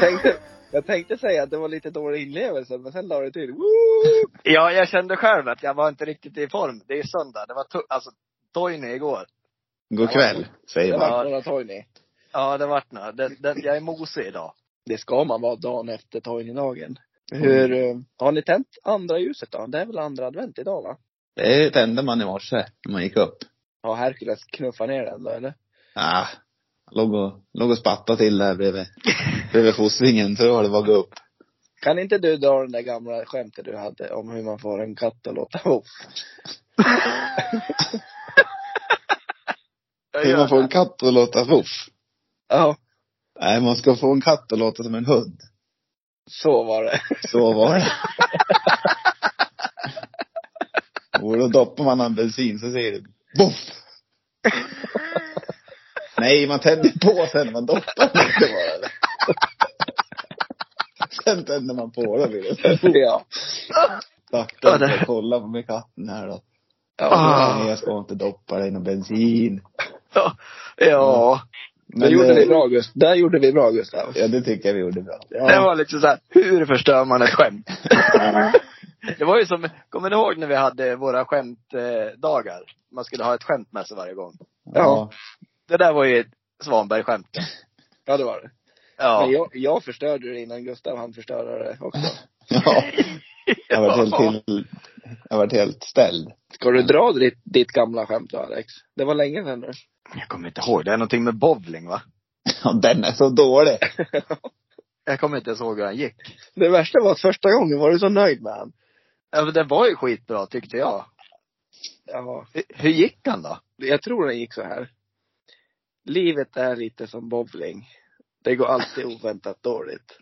tänkte, jag tänkte säga att det var lite dålig inlevelse, men sen la du till. Woo! Ja, jag kände själv att jag var inte riktigt i form. Det är söndag. Det var tu- alltså, Toini igår. God kväll, säger Det man. var några tojny. Ja, det vart något. Det, det, jag är mosig idag. Mm. Det ska man vara dagen efter tojnydagen. Hur, eh, har ni tänt andra ljuset då? Det är väl andra advent idag va? Det tände man i morse när man gick upp. Har Herkules knuffat ner den då eller? Ah, låg och, låg och spattade till där bredvid, bredvid fossvingen, så det var gå upp. Kan inte du dra den där gamla skämtet du hade om hur man får en katt att låta voff? Jag Hur gör man får det. en katt att låta voff. Ja, Nej, man ska få en katt att låta som en hund. så var det. Så var det. Och då doppar man han bensin så säger det boff. Nej, man tänder på sen, man doppar inte bara. det. Sen tänder man på, då blir det ja. Ja, Stackarn det- ska kolla på mig katten här då. Ah. ja. Nej, jag ska inte doppa dig i någon bensin. Ja, Det Men Mm. gjorde det, vi bra Gustav. eh, Där gjorde vi bra Gustav. Ja, det tycker jag vi gjorde bra. det Ja. var liksom såhär, hur förstör man ett skämt? det var ju som, kommer ni ihåg när vi hade våra skämtdagar? Man skulle ha ett skämt med sig varje gång. Ja. Det där var ju ett Svanberg-skämt. ja, det var det. Men Ja. jag, jag förstörde det innan Gustav han förstörde det också. Ja. Jag har varit helt till, jag har varit helt ställd. Ska du dra ditt, ditt gamla skämt då Alex? Det var länge sedan nu. Jag kommer inte ihåg, det är någonting med bowling va? Ja, den är så dålig. Jag kommer inte ens ihåg hur han gick. Det värsta var att första gången var du så nöjd med han. Ja, men den var ju skitbra tyckte jag. Ja. Hur, hur gick han då? Jag tror den gick så här. Livet är lite som bowling. Det går alltid oväntat dåligt.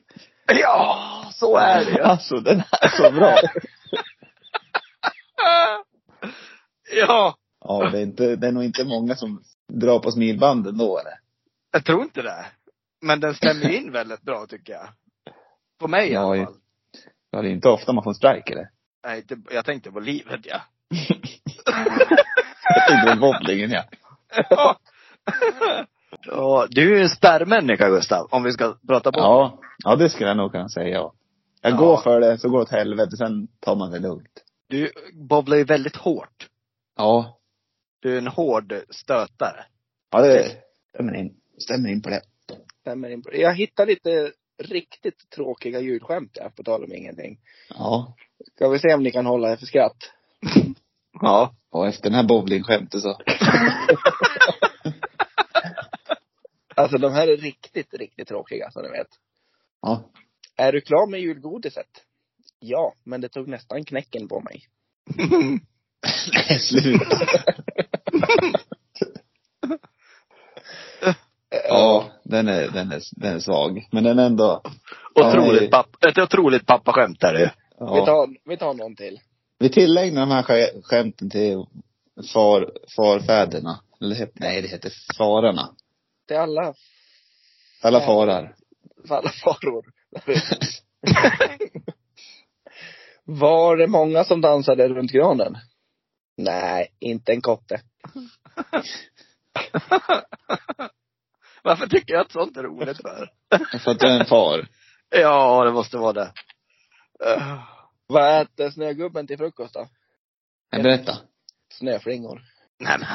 Ja, så är det ju. Alltså den är så bra. Ja, Ja, det är, inte, det är nog inte många som drar på smilbanden då eller? jag tror inte det. Men den stämmer in väldigt bra tycker jag. På mig i Ja, alla ju. fall. Ja, det är inte ofta man får en strike eller? Nej, inte, jag tänkte på livet ja. Jag tänkte på bowlingen ja. ja. Ja, du är ju en spärrmänniska Gustav, om vi ska prata på. Ja, ja det skulle jag nog kunna säga. ja. Jag Ja. går för det, så går det åt helvete, sen tar man det lugnt. Du bowlar ju väldigt hårt. Ja. Du är en hård stötare. Ja, det stämmer in. Stämmer in på det. Stämmer in på det. Jag hittade lite riktigt tråkiga ljudskämt där, på tal om ingenting. Ja. Ska vi se om ni kan hålla er för skratt? Ja. Och efter den här bowlingskämtet så. Alltså de här är riktigt, riktigt tråkiga så ni vet. Ja. Är du klar med julgodiset? Ja, men det tog nästan knäcken på mig. Nej, sluta. Ja, den är, den är, den är svag. Men den är ändå. otroligt Nej. pappa, ett otroligt pappaskämt är det ju. Ja. Vi, tar, vi tar någon till. Vi tillägnar de här sk- skämten till far, farfäderna. Eller het- nej, det heter fararna. Till alla, Alla Ja. farar. för alla faror. Var det många som dansade runt granen? Nej, inte en kotte. Varför tycker jag att sånt är roligt för? För att du är en far. Ja, det måste vara det. Eh, Vad äter snögubben till frukost då? Nej, berätta. Snöflingor. nej men.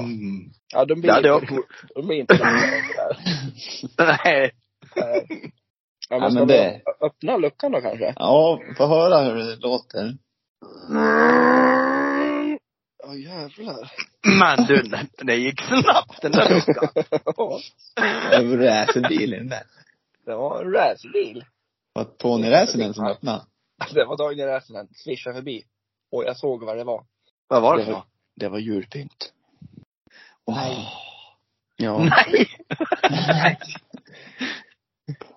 mm. Ja, de blir Ja, det inte, var- ro- de blir inte roliga. Nej. Nej. Ja, Ja, men ska men vi det- öppna luckan då kanske? Ja, få höra hur det låter. Ja, jävlar. Men du, den- den gick snabbt den där luckan. Över racerbilen där. det var en racerbil. Var Tony Räsinen som öppnade? Det var dagen i racen, svischade förbi. Och jag såg vad det var. Vad var det Det för var, något? det var julpynt. Åh. Ja. Nej.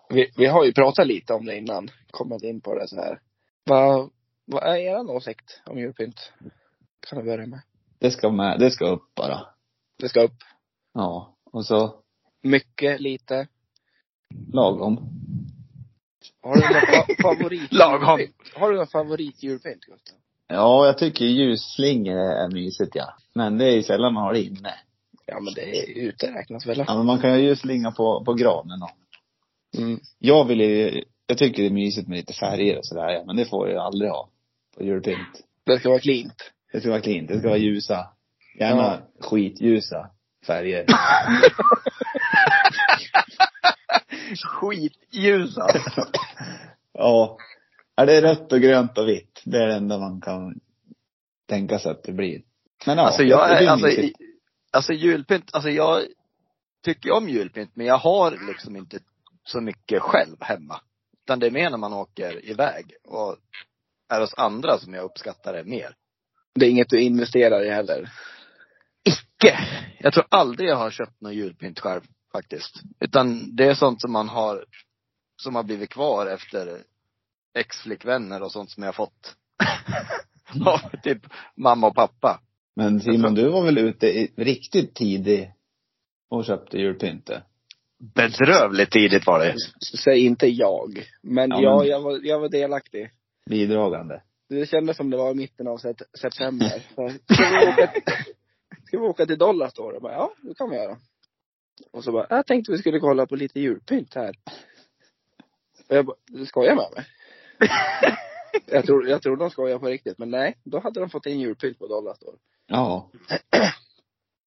Vi, vi har ju pratat lite om det innan, kommit in på det så här. Vad, vad är er åsikt om julpynt? Kan du börja med? Det ska med, det ska upp bara. Det ska upp. Ja. Och så Mycket, lite. lagom. Har du någon fa- favorit? Lagom. Har du någon favorit julpynt, Gustav? Ja, jag tycker ljusslingor är mysigt ja. Men det är ju sällan man har det inne. Ja men det är ute räknas väl. Ja, men man kan ju slinga på, på granen då. Mm. Jag vill ju, jag tycker det är mysigt med lite färger och sådär ja, men det får jag ju aldrig ha. På julpynt. Det ska vara cleant. Det ska vara cleant, det ska vara ljusa. Gärna skitljusa färger. Skitljusa. ja. ja. Det är rött och grönt och vitt. Det är det enda man kan tänka sig att det blir. Men ja, Alltså jag det- det är, är alltså, mysigt. i- alltså julpynt, alltså jag tycker om julpynt men jag har liksom inte så mycket själv hemma. Utan det är mer när man åker iväg och är hos andra som jag uppskattar det mer. Det är inget du investerar i heller. Icke! Jag tror aldrig jag har köpt någon julpynt själv faktiskt. Utan det är sånt som man har, som har blivit kvar efter ex-flickvänner och sånt som jag har fått. Av typ mamma och pappa. Men Simon, Alltså- du var väl ute i, riktigt tidig och köpte julpyntet? Bedrövligt tidigt var det. S- Säg inte jag. Men Ja, ja, men- Jag, var, jag var delaktig. Bidragande. Det kändes som det var i mitten av set- september. Så här, Ska vi åka, ska vi åka till Dollarstore? Jag bara, ja, det kan vi göra. Och så bara, jag tänkte vi skulle kolla på lite julpynt här. Och jag bara, du skojar med mig? Jag tror, jag tror de skojar på riktigt, men nej, då hade de fått in julpynt på Dollarstore. Ja.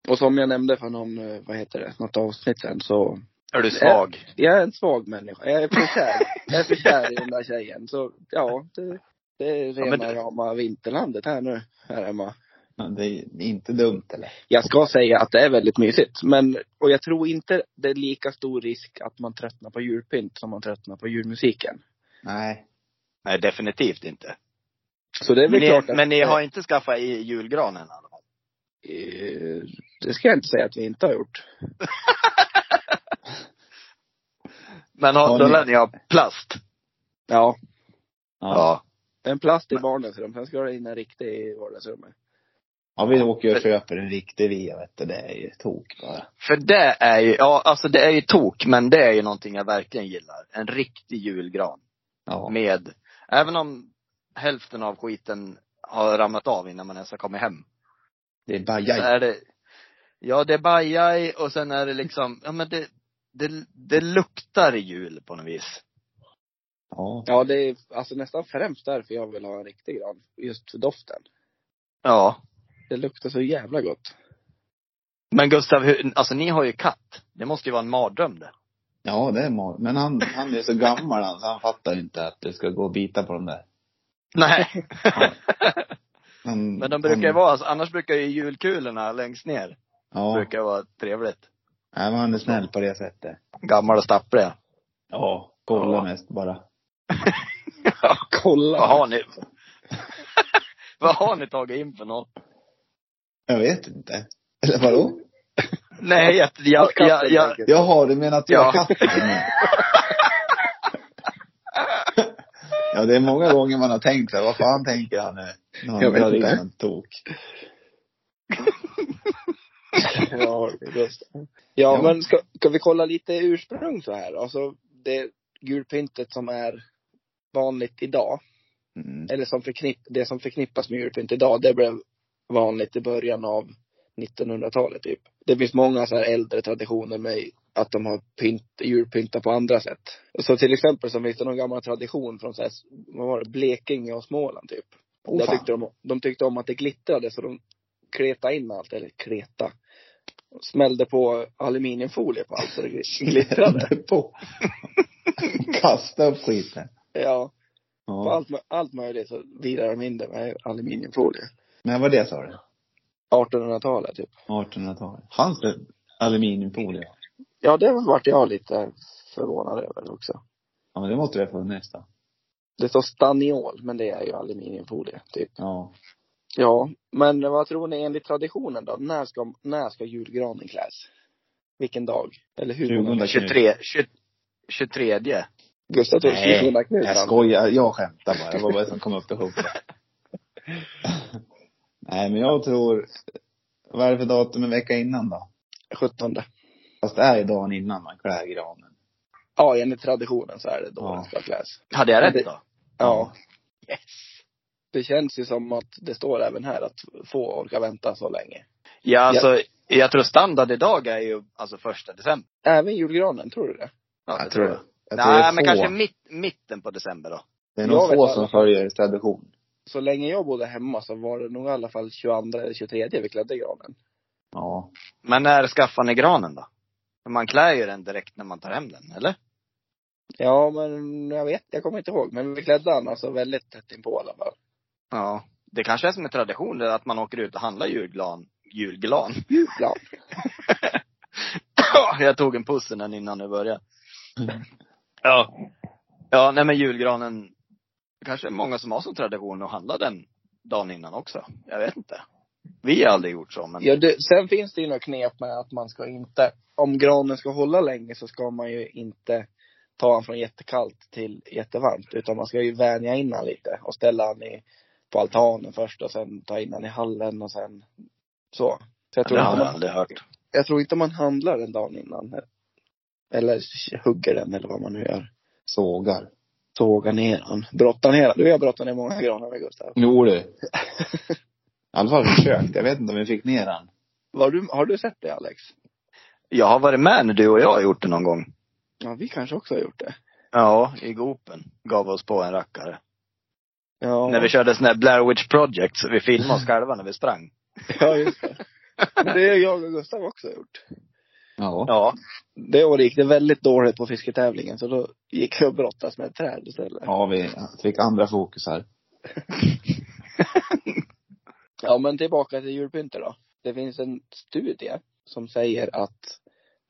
Och som jag nämnde för någon, eh, vad heter det, något avsnitt sen så Är du svag? jag är en svag människa. Jag är för kär. Jag är för kär i den där tjejen. Så ja, det, det är Ja, men rena det- rama vinterlandet här nu, här hemma. Men det är inte dumt eller? Jag ska säga att det är väldigt mysigt. Men, och jag tror inte det är lika stor risk att man tröttnar på julpynt som man tröttnar på julmusiken. Nej. Nej, definitivt inte. Så det är väl Men ni, klart att, men ni har inte skaffat i julgranen i alla fall? eh, Det ska jag inte säga att vi inte har gjort. Men Har har, då ni- lär ni ha plast? Ja. Ja. Det är en plast i barnens rum, sen ska det in en riktig i vardagsrummet. ja vi åker ju och köper en riktig via vet du. Det är ju tok bara. För det är ju, ja alltså det är ju tok, men det är ju någonting jag verkligen gillar. En riktig julgran. Ja. Med, även om hälften av skiten har ramlat av innan man ens har kommit hem. Det är bara Så är det, ja det är bajaj och sen är det liksom, ja men det, det, det luktar jul på något vis. Ja. Ja, det är alltså nästan främst därför jag vill ha en riktig gran. Just för doften. Ja. Det luktar så jävla gott. Men Gustav, hur, alltså ni har ju katt. Det måste ju vara en mardröm det. Ja, det är mar- Men han, han är så gammal han, så han fattar inte att du ska gå och bita på dem där. Nej. Han, Men de brukar ju han, vara, alltså, annars brukar ju julkulorna längst ner, Ja. brukar vara trevligt. Nej, men han är snäll på det sättet. Gammal och stapplig. Ja. Kolla Ja. mest bara. Kolla! Vad har ni? Vad har ni tagit in för något? Jag vet inte. Eller vadå? Nej, jag, jag, jag, jag, Jaha, du menar att jag Ja. har katten nu? Ja, det är många gånger man har tänkt så här, vad fan tänker han nu? När han Jag vet drar inte. den en tok. Ja, just det. ja, Ja. men ska, ska vi kolla lite ursprung så här? Alltså det julpyntet som är vanligt idag, Mm. eller som förknipp, det som förknippas med julpynt idag, det blev vanligt i början av 1900-talet typ. Det finns många så här äldre traditioner med att de har pynt, julpyntat på andra sätt. Så till exempel så finns det någon gammal tradition från så här, vad var det, Blekinge och Småland typ. Oh, Där fan. tyckte de, de tyckte om att det glittrade så de kretade in allt, eller kreta. Och Smällde på aluminiumfolie på allt så det glittrade. på. Kasta upp skiten. Ja, på Ja. allt, mö- allt möjligt så virade de in det med aluminiumfolie. När var det sa du? 1800-talet typ. 1800-talet. Fanns det aluminiumfolie? Ja, det vart jag lite förvånad över också. Ja, men det måste det ha funnits då. Det står staniol, men det är ju aluminiumfolie typ. Ja. Ja, men vad tror ni enligt traditionen då? När ska, när ska julgranen kläs? Vilken dag? Eller hur? 2000 23, 20, 23. Gustav tog Nej, 20 Jag knutar. skojar, jag skämtar bara. Det var bara jag som kom upp till huvudet. Nej, men jag tror, vad är det för datum en vecka innan då? 17. Fast det är ju dagen innan man klär granen. Ja, enligt traditionen så är det då Ja. den ska kläs. Hade jag Men rätt det- då? Ja. Yes. Det känns ju som att det står även här att få orkar vänta så länge. Ja, alltså, jag tror standard idag är ju alltså första december. Även julgranen, tror du det? Ja, Jag tror det. Jag tror det Nej, är men få. kanske mitt, mitten på december då. Det är Jag nog vet få alla. som följer tradition. Så länge jag bodde hemma så var det nog i alla fall 22 eller 23 vi klädde granen. Ja. Men när skaffar ni granen då? För Man klär ju den direkt när man tar hem den, eller? Ja, men jag vet, jag kommer inte ihåg. Men vi klädde han alltså väldigt tätt inpå i alla fall. Ja. Det kanske är som en tradition det är att man åker ut och handlar julglan. Julglan. Julgran. jag tog en puss i den innan du började. ja. Ja, nej men julgranen. Kanske är många som har som tradition att handla den dagen innan också. Jag vet inte. Vi har aldrig gjort så, men. Ja, det, sen finns det ju några knep med att man ska inte, om granen ska hålla länge så ska man ju inte ta han från jättekallt till jättevarmt. Utan man ska ju vänja in han lite och ställa han i, på altanen först och sen ta in han i hallen och sen så. Så jag tror, det har inte jag man, aldrig hört. jag tror inte man handlar den dagen innan. Eller hugger den eller vad man nu gör. Sågar. Såga ner han. Brotta ner han. Du, jag brottar ner många granar med Gustav. Jo du. I alla fall försökt. Jag vet inte om vi fick ner den. Var du, har du sett det Alex? Jag har varit med när du och jag har gjort det någon gång. Ja, vi kanske också har gjort det. Ja, i Gopen. Gav oss på en rackare. Ja. När vi körde sån här Blair Witch Project, så vi filmade oss själva när vi sprang. Ja, just det. Men det har jag och Gustav också gjort. Ja. Ja. Det året gick det väldigt dåligt på fisketävlingen, så då gick jag och brottas med ett träd istället. Ja. Ja, vi fick andra fokus här. men tillbaka till julpyntet då. Det finns en studie som säger att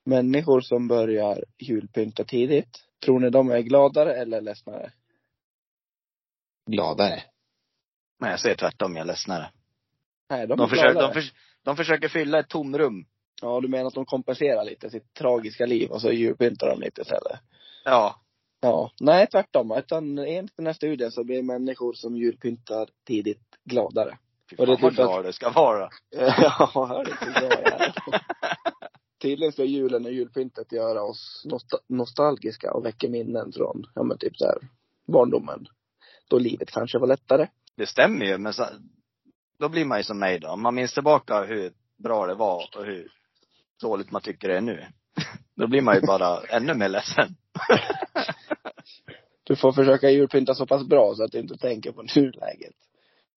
människor som börjar julpynta tidigt, tror ni de är gladare eller ledsnare? Gladare. Men jag säger tvärtom, jag är ledsnare. Nej, de, De är försöker, gladare. de, förs- de försöker fylla ett tomrum. Ja, du menar att de kompenserar lite sitt tragiska liv och så julpyntar de lite istället? Ja. Ja, nej tvärtom. Utan enligt den här studien så blir människor som julpyntar tidigt gladare. Fy Och det fan vad typ att- bra det ska vara. Ja, hör du inte bra jävlar. Tydligen ska julen och julpyntet göra oss nosta- nostalgiska och väcka minnen från, ja men typ där, barndomen. Då livet kanske var lättare. Det stämmer ju, men så, då blir man ju som mig då. Om man minns tillbaka hur bra det var och hur dåligt man tycker det är nu. Då blir man ju bara ännu mer ledsen. Du får försöka julpynta så pass bra så att du inte tänker på nuläget.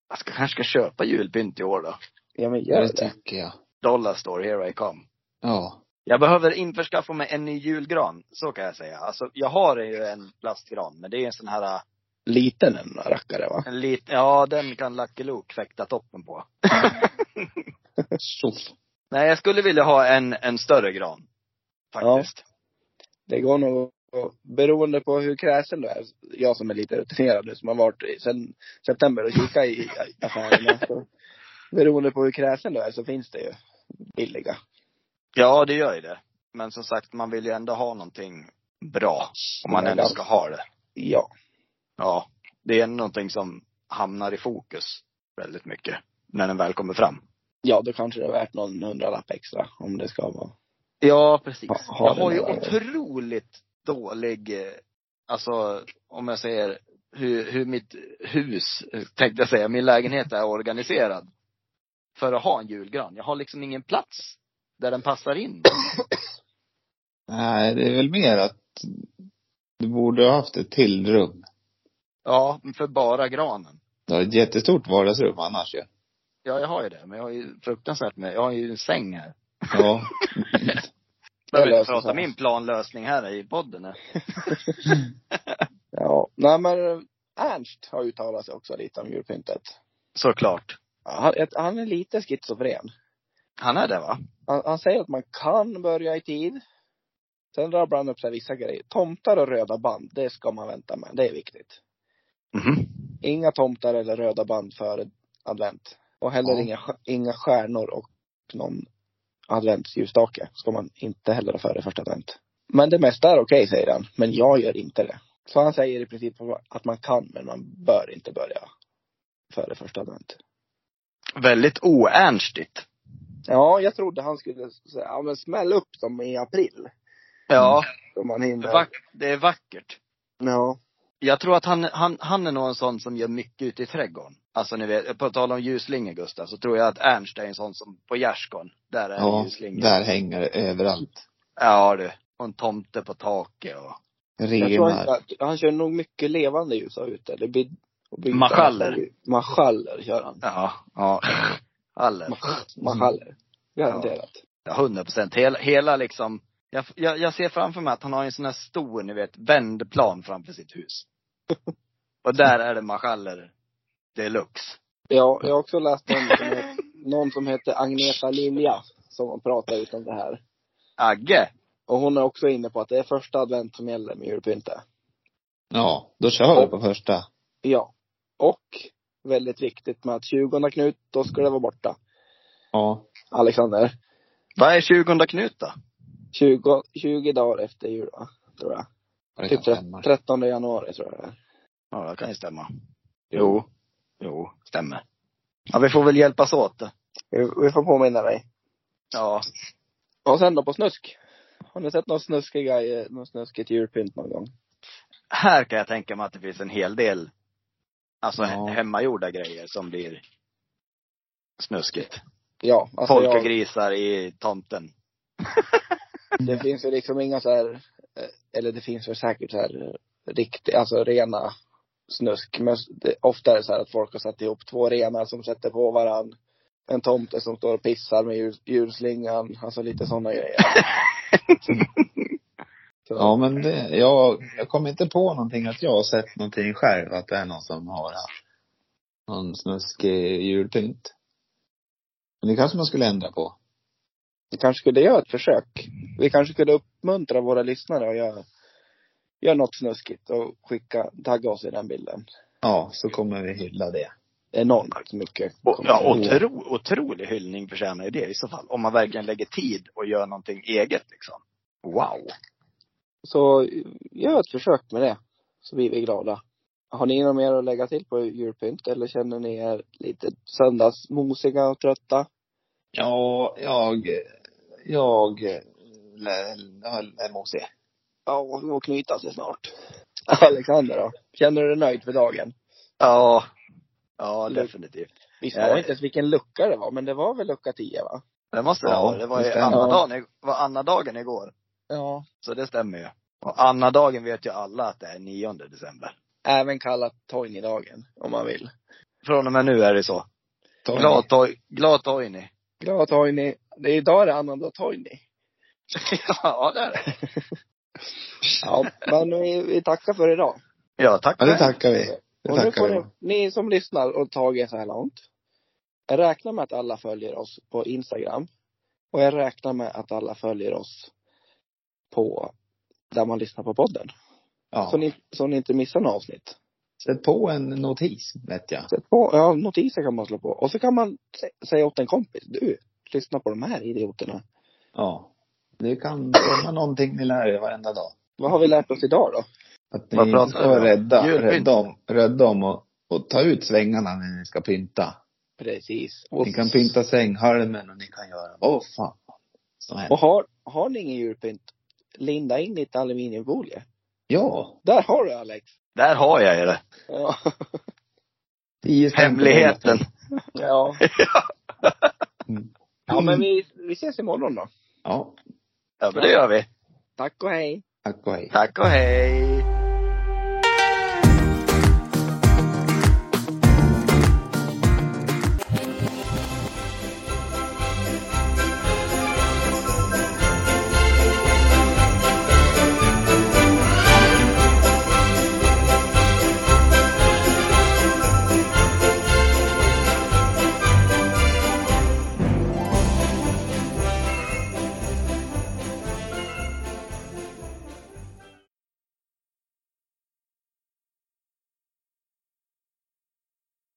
Jag ska, kanske ska köpa julpynt i år då. Ja men Ja, gör det det. tycker jag. Dollar store, here I come. Ja. Jag behöver införskaffa mig en ny julgran, så kan jag säga. Alltså, jag har ju en plastgran, men det är en sån här, äh, Liten en rackare va? en liten, ja den kan Lucky Luke fäkta toppen på. Tjoff. Nej, jag skulle vilja ha en, en större gran. Faktiskt. Det går nog, beroende på hur kräsen du är, jag som är lite rutinerad nu som har varit i- sen september och kika i affärerna. Så, beroende på hur kräsen du är så finns det ju billiga. Ja. det gör ju det. Men som sagt, man vill ju ändå ha någonting bra. Om man Ja, ändå ja. ska ha det. Ja. Ja. Det är någonting som hamnar i fokus väldigt mycket. När den väl kommer fram. Ja, då kanske det är värt någon hundralapp extra om det ska vara. Ja, precis. Ha- ha jag det har ju där. otroligt dålig, eh, alltså om jag säger hur, hur mitt hus, eh, tänkte jag säga, min lägenhet är organiserad. För att ha en julgran. Jag har liksom ingen plats där den passar in. Nej, det är väl mer att du borde ha haft ett till rum. Ja, för bara granen. Du har ett jättestort vardagsrum annars ju. Ja, jag har ju det. Men jag har ju fruktansvärt med, jag har ju en säng här. Ja. Jag Behöver inte löser prata så här. min planlösning här i podden. eh. Ja. Nej, men eh, Ernst har uttalat sig också lite om julpyntet. Såklart. Ja, Han, ett- han är lite schizofren. Han är det va? Han, han säger att man kan börja i tid. Sen rabblar han upp så här vissa grejer. Tomtar och röda band, det ska man vänta med. Det är viktigt. Mhm. Inga tomtar eller röda band före advent. Och heller Ja. inga, sk- inga stjärnor och någon adventsljusstake ska man inte heller ha före första advent. Men det mesta är okej, säger han. Men jag gör inte det. Så han säger i princip att man kan, men man bör inte börja före första advent. Väldigt oernstigt. Ja, jag trodde han skulle säga, ja men smäll upp dem i april. Ja, Mm. Om man hinner. vack- det är vackert. Ja. jag tror att han, han, han är nog en sån som gör mycket ute i trädgården. Alltså ni vet, på tal om ljusslingor Gustav, så tror jag att Ernst är en sån som på gärdsgården, där är en Ja, ljusslinga. där hänger det överallt. Ja du. Och en tomte på taket och Jag tror Renar. han, att- han kör nog mycket levande ljus där ute. Det blir, och blir Marschaller. Marschaller kör han. ja, ja. Aller. Mm. Marschaller. Garanterat. Ja, 100 procent. Hela, hela liksom. Jag, jag, jag ser framför mig att han har en sån här stor, ni vet, vändplan framför sitt hus. Och där är det marschaller deluxe. Ja, jag har också läst om som het- någon som heter Agneta Lilja som pratar just om det här. Agge! Och hon är också inne på att det är första advent som gäller med julpyntet. Ja, då kör vi på första. Ja. Och väldigt viktigt med att 20 Knut, då ska det vara borta. Ja. Alexander. Vad är 20 Knut då? 20, 20 dagar efter jul, va? tror jag. Ja, det Typ kan stämma. tre- 13 januari tror jag det är. Ja, det kan ju stämma. Jo. Jo, stämmer. Ja, vi får väl hjälpas åt. då. Vi- Vi får påminna dig. Ja. Och sen då på snusk. Har ni sett någon snuskiga, eh, någon snuskigt julpynt någon gång? Här kan jag tänka mig att det finns en hel del, alltså Ja. hemmagjorda grejer som blir snuskigt. Ja, alltså jag, Polkagrisar i tomten. det finns ju liksom inga så här, eh, eller det finns väl säkert så här eh, riktigt, alltså rena snusk. Men s- det, ofta är det så här att folk har satt ihop två renar som sätter på varann. En tomte som står och pissar med jul, julslingan, alltså lite sådana grejer. Så, Ja, men det, jag, jag kommer inte på någonting att jag har sett någonting själv, att det är någon som har haft någon snuskig julpynt. Men det kanske man skulle ändra på. Vi kanske skulle göra ett försök. Vi kanske skulle uppmuntra våra lyssnare att göra, göra något snuskigt och skicka, tagga oss i den bilden. Ja, så kommer vi hylla det. Enormt mycket. Och, ja, otro, otrolig hyllning förtjänar ju det i så fall. Om man verkligen lägger tid och gör någonting eget liksom. Wow! Så gör ett försök med det. Så blir vi glada. Har ni något mer att lägga till på julpynt eller känner ni er lite söndagsmosiga och trötta? Ja, jag, jag, jag är mosig. Ja, och vi får knyta sig snart. Alexander då? Känner du dig nöjd för dagen? Ja. Ja, definitivt. Vi sa inte ens vilken lucka det var, men det var väl lucka 10 va? Det måste det Ja, vara. Det var det ju stämmer. annadagen, var annadagen igår. Ja. Så det stämmer ju. Och annadagen vet ju alla att det är 9 december. Även kallat Toini-dagen, om man vill. Från och med nu är det så. Glad toj, glad tojni. Glada Toini. Det är idag det är annandag Toini. ja, det är det. Ja, men vi, vi tackar för idag. Ja, tack. Ja, det tackar vi. Det Och nu tackar får vi. ni, ni som lyssnar och tagit er så här långt. Jag räknar med att alla följer oss på Instagram. Och jag räknar med att alla följer oss på där man lyssnar på podden. Så, Ja. ni, så ni inte missar några avsnitt. Sätt på en notis, vet jag. Sätt på, ja, notiser kan man slå på. Och så kan man sä- säga åt en kompis. Du, lyssna på de här idioterna. Ja. Det kan komma någonting ni lär er varenda dag. Vad har vi lärt oss idag då? Att ni Vad inte pratar ska du om? vara rädda, Julpynt. rädda om, rädda om och, och ta ut svängarna när ni ska pynta. Precis. Och, Ni kan pynta sänghalmen och ni kan göra vad fan som helst. och har, har ni ingen julpynt, linda in lite aluminiumfolie. Ja. Där har du Alex. Där har jag ju det. Ja. tio centimeter. Hemligheten. ja. Mm. Ja, men vi, vi ses imorgon då. Ja. Ja, men det gör vi. Tack och hej. Tack och hej. Tack och hej.